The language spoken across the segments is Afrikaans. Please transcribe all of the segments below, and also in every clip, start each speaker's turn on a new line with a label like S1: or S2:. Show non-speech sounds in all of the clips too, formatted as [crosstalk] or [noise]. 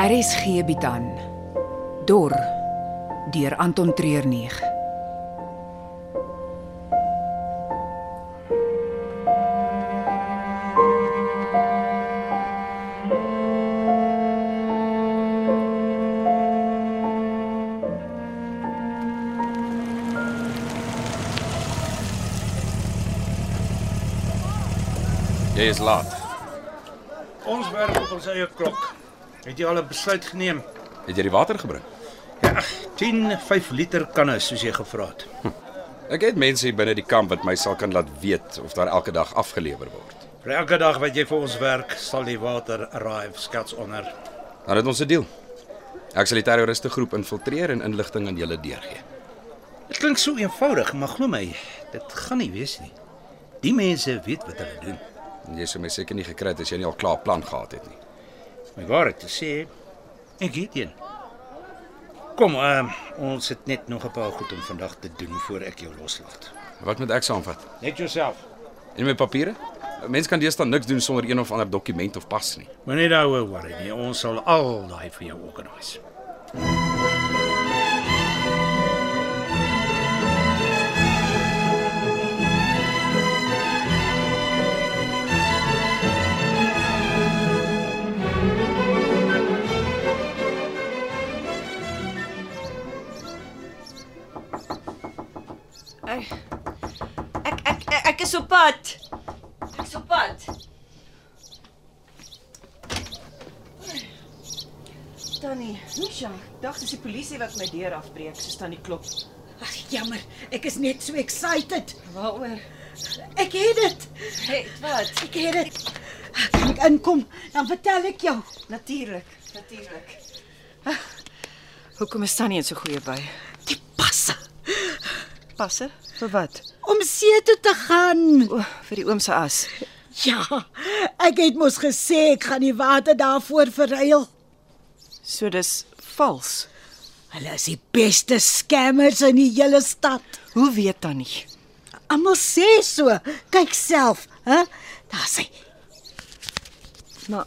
S1: RSG bied aan Dor deur Anton Treuer 9
S2: Jy is laat.
S3: Ons werk op ons eie klok. Het jy al 'n besluit geneem? Ja,
S2: Het jy die water gebring?
S3: 10 5 liter kanne soos jy gevra het.
S2: Ek het mense hier binne die kamp wat my sal kan laat weet of daar elke dag afgelewer word.
S3: Vir elke dag wat jy vir ons werk, sal die water arrive skats onder.
S2: Dan het ons 'n deal. Ek sal die terroriste groep infiltreer en inligting aan julle deurgee.
S3: Dit klink so eenvoudig, maar glo my, dit gaan nie wees nie. Die mense weet wat hulle doen.
S2: En Jy sou my seker nie gekry het as jy nie al klaar 'n plan gehad het nie.
S3: My waarheid te sê, ek het een. Kom, uh, ons het net nog 'n paar goed om vandag te doen voor ek jou loslaat.
S2: Wat moet ek saamvat?
S3: Net jouself.
S2: En my papiere? 'n Mens kan deesdae niks doen sonder een of ander dokument of pas nie.
S3: Moenie daaroor worry nie. Ons sal al daai vir jou organiseer.
S4: Ai. Ek ek ek, ek is op pad. Ek is op pad. Tannie, Nisha, dag dis die polisie wat my deur afbreek, soos tannie klop.
S5: Ag jammer, ek is net so excited.
S4: Waaroor?
S5: Ek het dit.
S4: Het wat?
S5: Ek het dit. Kan ek inkom? Dan vertel ek jou.
S4: Natuurlik, natuurlik. Ah, Hoekom is tannie in so goeie by?
S5: Die passe
S4: Passe? Vir wat?
S5: om see toe te gaan.
S4: O, vir die oom se as.
S5: Ja, ek het mos gesê ek gaan die water daarvoor verruil.
S4: So dis vals.
S5: Hulle is die beste scammers in die hele stad.
S4: Hoe weet tannie?
S5: Almal sê so. Kyk self, hè? Daar's hy.
S4: Maar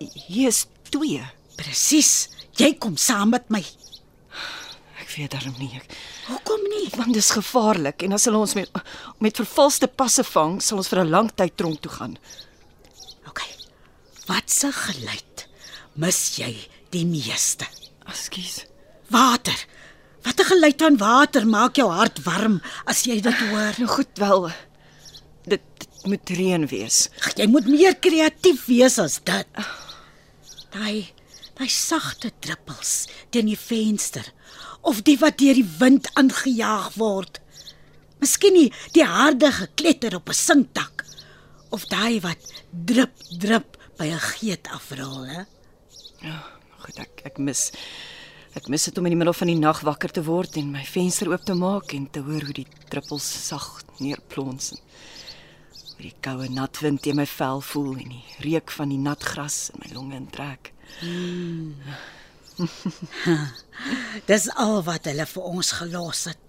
S4: hier is 2.
S5: Presies. Jy kom saam met my.
S4: Ek weet daarom nie. Ek
S5: Hoekom nie?
S4: Want dis gevaarlik en as hulle ons met met vervalste passe vang, sal ons vir 'n lang tyd tronk toe gaan.
S5: OK. Wat se geluid mis jy die meeste?
S4: Ekskuus.
S5: Water. Wat 'n geluid van water maak jou hart warm as jy dit hoor.
S4: Nou goed wel. Dit, dit moet reën wees.
S5: Ag, jy moet meer kreatief wees as dit. Daai daai sagte druppels teen die venster of die wat deur die wind aangejaag word. Miskien nie die harde gekletter op 'n sinkdak of daai wat drup drup by 'n geet afrol, hè?
S4: Nou Goed, ek ek mis ek mis dit om in die middel van die nag wakker te word en my venster oop te maak en te hoor hoe die druppels sag neerplons. en Hoe die koue nat wind teen my vel voel en die reuk van die nat gras in my longe intrek.
S5: Dis al wat hulle vir ons gelos het.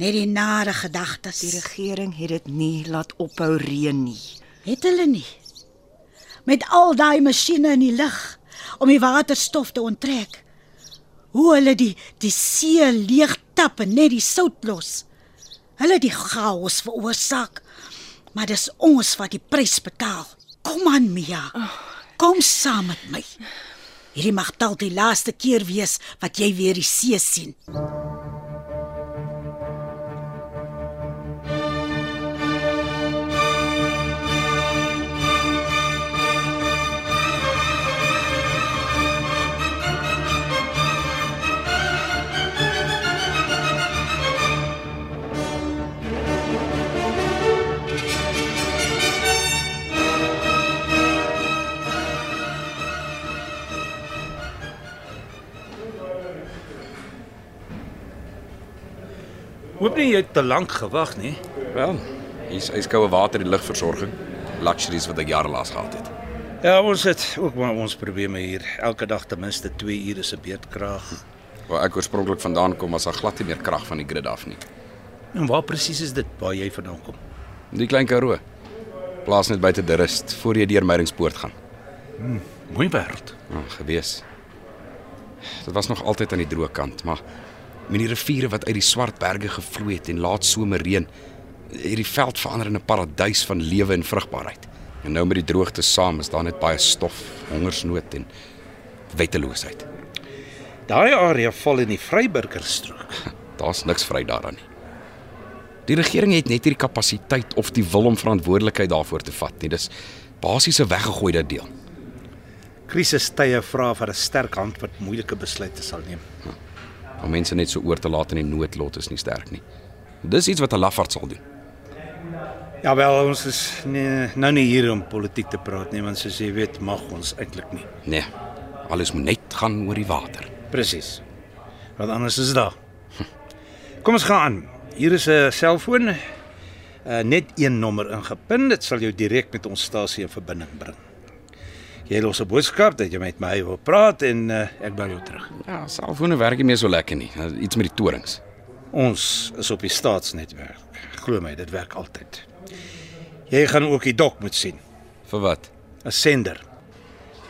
S5: Net die nare gedagtes.
S4: Die regering het dit nie laat ophou reën nie.
S5: Het hulle nie. Met al daai masjiene in die lug om die waterstof te onttrek. Hoe hulle die die see leeg tap en net die sout los. Hulle het die chaos veroorsaak. Maar dis ons wat die prys betaal. Kom aan Mia. Kom saam met my. Hierdie mag dalk die laaste keer wees wat jy weer die see sien.
S3: Hoop nie jy het te lank gewag nie.
S2: Wel, hier's yskoue water en ligversorging. Luxuries wat ek jare lank gehad het.
S3: Ja, ons het ook maar ons probleme hier. Elke dag ten minste 2 ure se beerdkrag.
S2: Waar ek oorspronklik vandaan kom, was daar glad nie meer krag van die grid af nie.
S3: En waar presies is dit waar jy vandaan kom?
S2: Die klein Karoo. Plaas net buite die rust voor jy deur Meyringspoort gaan.
S3: Mooi wêreld.
S2: Ja, gewees. Dit was nog altyd aan die droë kant, maar met die riviere wat uit die swart berge gevloei het en laat somer reën, het die veld verander in 'n paradys van lewe en vrugbaarheid. En nou met die droogte saam is daar net baie stof, hongersnood en wetteloosheid.
S3: Daai area val in die Vryburgerstrook.
S2: Daar's niks vry daaraan nie. Die regering het net hierdie kapasiteit of die wil om verantwoordelikheid daarvoor te vat nie. Dis basies 'n weggegooide deel.
S3: Krisistye vra vir 'n sterk hand wat moeilike besluite sal neem.
S2: Om mense net so oor te laat in die noodlot is nie sterk nie. Dis iets wat 'n lafaard sal doen.
S3: Ja wel, ons is nie, nou nie hier om politiek te praat nie, want soos jy weet, mag ons eintlik nie.
S2: Nee. Alles moet net gaan oor die water.
S3: Presies. Wat anders is daar? Kom ons gaan aan. Hier is 'n selfoon. Uh, net een nommer ingepin, dit sal jou direk met ons stasie in verbinding bring. Jy los 'n boodskap dat jy met my wil praat en uh, ek bel jou terug.
S2: Ja, selfone werk nie meer so lekker nie. Dis Iets met die torings.
S3: Ons is op die staatsnetwerk. Glo my, dit werk altyd. Jy gaan ook die dok moet sien,
S2: Vir wat?
S3: 'n sender.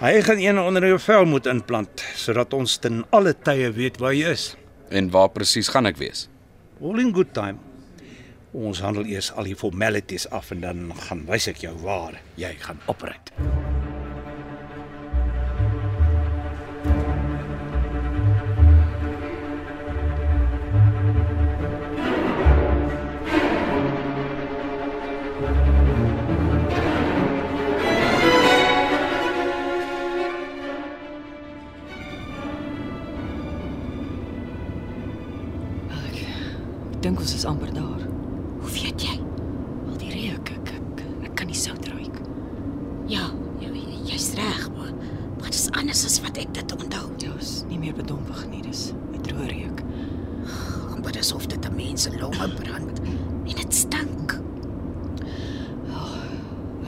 S3: Hy gaan een onder jou vel moet inplant sodat ons ten alle tye weet waar jy is.
S2: En waar presies gaan ek wees?
S3: All in good time. Ons handel eers al die formalities af en dan gaan wys ek jou waar jy gaan operate.
S4: Ek dink ons is amper daar.
S5: Hoe weet jy?
S4: Al die reuk, ek ek, ek kan nie sout ruik.
S5: Ja, jy jy's reg, maar maar dit is anders as wat ek dit onthou.
S4: Ja, is nie meer bedompig nie, dis 'n droë reuk.
S5: Amper asof dit 'n mens se longe brand en dit stink.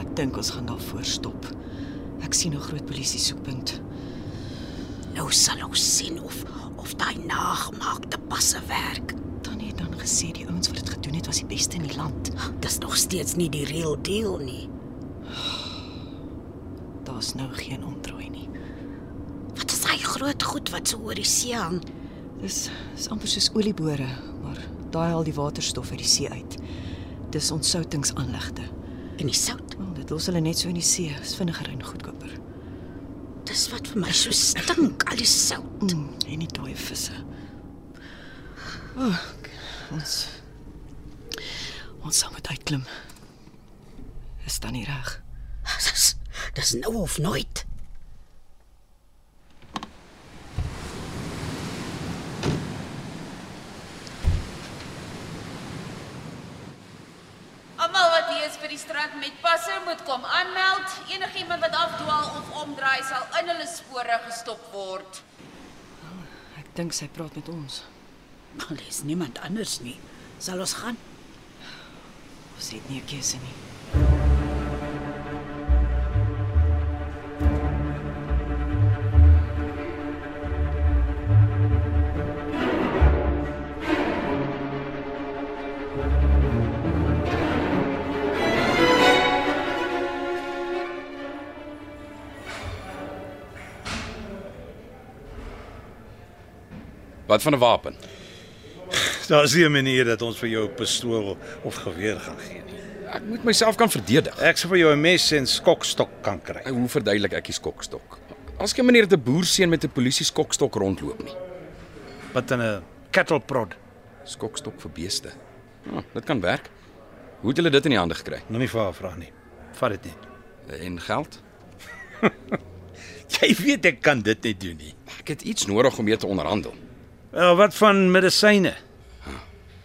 S4: Ek dink ons gaan daarvoor stop. Ek sien 'n groot polisie soekpunt.
S5: Nou sal ons sien of of daai nagemaakte passe werk.
S4: Tannie het dan gesê die ouens wat dit gedoen het was die beste in die land.
S5: Dis nog steeds nie die real deal nie.
S4: Daar's nou geen omdraai nie.
S5: Wat is daai groot goed wat so oor die see hang?
S4: Dis is amper soos oliebore, maar daai al die waterstof uit die see uit. Dis ontsoutingsaanlegte.
S5: En die sout.
S4: Wel, dit los hulle net so in die see, is vinniger en goedkoper.
S5: Dis wat vir my so stink, al die sout.
S4: Mm, en die dooie visse. Oh, ek- ons ons sal moet uitklim. Is dan nie reg.
S5: Dis dis nou of nooit.
S6: Almal wat hier is vir die strand met passe moet kom aanmeld. Enigiemand wat afdwaal of omdraai sal in hulle spore gestop word.
S4: Ek dink sy praat met ons.
S5: Maar lees niemand anders nie. Sal ons gaan?
S4: Ons het nie 'n keuse nie.
S2: Wat van 'n wapen?
S3: Daar's nie 'n manier dat ons vir jou 'n pistool of geweer gaan gee nie.
S2: Ek moet myself kan verdedig.
S3: Ek sal vir jou 'n mes en skokstok kan kry.
S2: Hoe verduidelik ek die skokstok? As geen meneer te boerseun met 'n polisie skokstok rondloop nie.
S3: Wat in 'n cattle prod.
S2: Skokstok vir beeste. Ja, dit kan werk. Hoe het julle dit in die hande gekry?
S3: Moenie vir haar vra nie. Vat dit net.
S2: En geld?
S3: Jy weet ek kan dit nie doen nie.
S2: Ek het iets nodig om mee te onderhandel.
S3: Uh, wat van medisyne?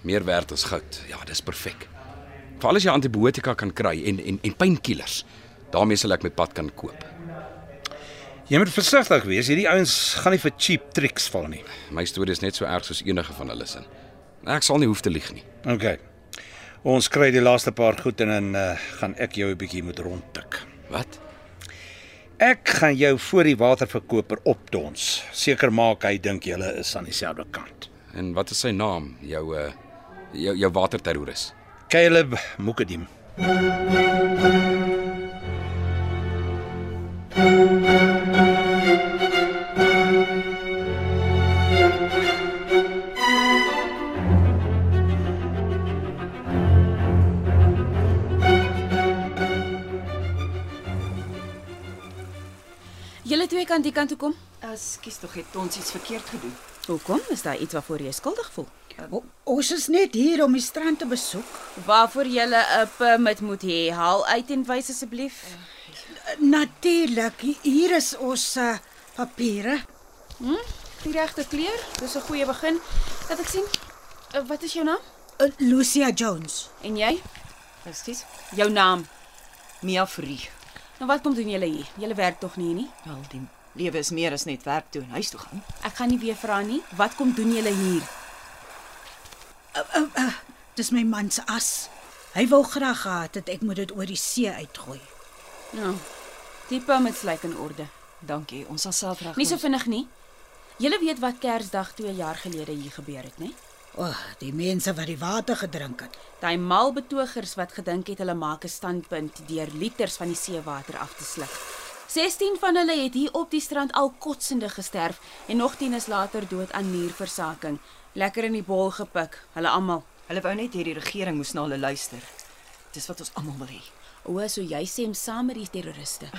S2: Meer werd as goud. Ja, dis perfek. Veral as jy antibiotika kan kry en en en painkillers. Daarmee sal ek my pad kan koop.
S3: Jy moet versigtig wees. Hierdie ouens gaan nie vir cheap tricks val nie.
S2: My storie is net so erg soos enige van hulle sin. Ek sal nie hoef te lieg nie.
S3: OK. Ons kry die laaste paar goed en dan uh, gaan ek jou 'n bietjie moet rondtik.
S2: Wat?
S3: Ek gaan jou voor die waterverkoper opdons. Seker maak hy dink julle is aan dieselfde kant.
S2: En wat is sy naam? Jou uh jou jou waterterroris.
S3: Caleb Mukadim.
S6: Julle twee kan die kant toe kom.
S4: Ekskuus tog, het ons iets verkeerd gedoen?
S6: Hoekom? Is daar iets waarvoor jy skuldig voel?
S5: O, ons is net hier om die strand te besoek.
S6: Waarvoor jy 'n permit moet hê. Haal uit en wys asseblief.
S5: Natuurlik, hi- hier is ons uh, papiere.
S6: Die regte kleur. Dis 'n goeie begin. Laat ek sien. Eh, Wat is jou naam?
S5: Uh, Lucia Jones.
S6: En jy? Presies. Jou naam.
S4: Mia Fourie.
S6: Nou wat kom doen julle hier? Julle werk tog nie hier nie?
S4: Wel, die lewe is meer as net werk toe en huis toe gaan.
S6: Ek gaan nie weer vra nie. Wat kom doen julle hier?
S5: Dis my man se as. Hy wou graag gehad het ek moet dit oor die see uitgooi.
S6: Nou. Die permits lyk in orde.
S4: Dankie, ons sal self reg.
S6: Nie so vinnig nie. Julle weet wat Kersdag 2 jaar gelede hier gebeur het, né?
S5: O, oh, die mense wat die water gedrink het.
S6: Daai mal betogers wat gedink het hulle maak 'n standpunt deur liters van die seewater af te sluk. 16 van hulle het hier op die strand al kotsende gesterf en nog 10 is later dood aan nierversaking. Lekker in die bol gepik, hulle almal.
S4: Hulle wou net hê die regering moes na hulle luister. Dis wat ons almal wil hê.
S6: O, so jy sê hom saam met die terroriste.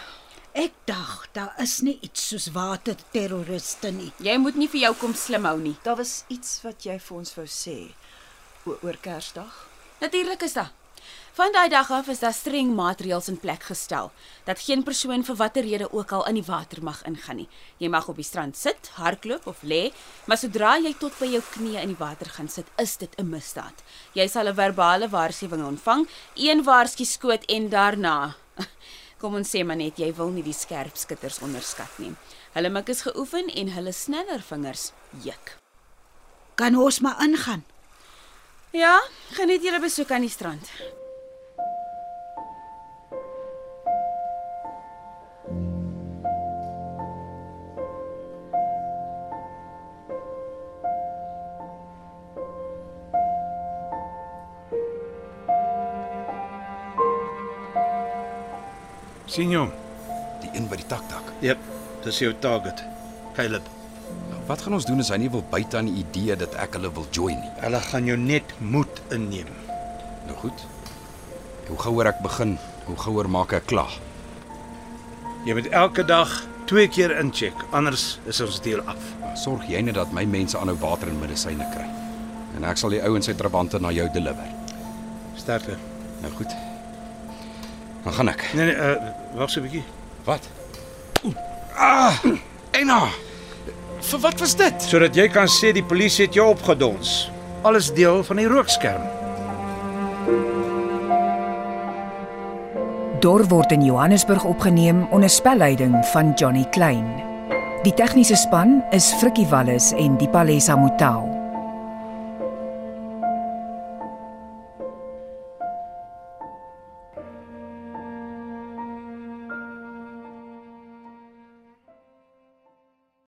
S5: Ek dacht daar is nie iets soos waterterroriste nie.
S6: Jy moet nie vir jou kom slim hou nie.
S4: Daar was iets wat jy vir ons wou sê o- oor Kersdag.
S6: Natuurlik is daar. Van daai dag af is daar streng maatreëls in plek gestel dat geen persoon vir watter rede ook al in die water mag ingaan nie. Jy mag op die strand sit, hardloop of lê, maar sodra jy tot by jou knieë in die water gaan sit, is dit 'n misdaad. Jy sal 'n verbale waarskuwing ontvang, een waarskuskoot en daarna [laughs] Kom ons sê maar net jy wil nie die skerpskutters onderskat nie. Hulle mik is geoefen en hulle sneller vingers juk.
S5: Kan ons maar ingaan.
S6: Ja, geniet julle besoek aan die strand.
S3: sien jou.
S2: Die een by die takdak.
S3: Jep, dis jou target. Caleb,
S2: Wat gaan ons doen as hy nie wil byt aan die idee dat ek hulle wil join nie?
S3: hulle gaan jou net moed inneem.
S2: Nou goed. Hoe gouer ek begin, hoe gouer maak ek klaar.
S3: Jy moet elke dag twee keer incheck, anders is ons deel af.
S2: Sorg jy net dat my mense aanhou water en medisyne kry. En ek sal die ouens se trawante na jou deliver.
S3: Sterkte.
S2: Nou goed. Dan gaan ek.
S3: Nee nee, uh, wag so 'n bietjie.
S2: Wat? Ah! Ena. Vir wat was dit?
S3: Sodat jy kan sê die polisie het jou opgedons. Alles deel van die rookskerm.
S1: Dor word in Johannesburg opgeneem onder spelleiding van Johnny Klein. Die tegniese span is Frikkie Wallis en Dipalesa Motelo.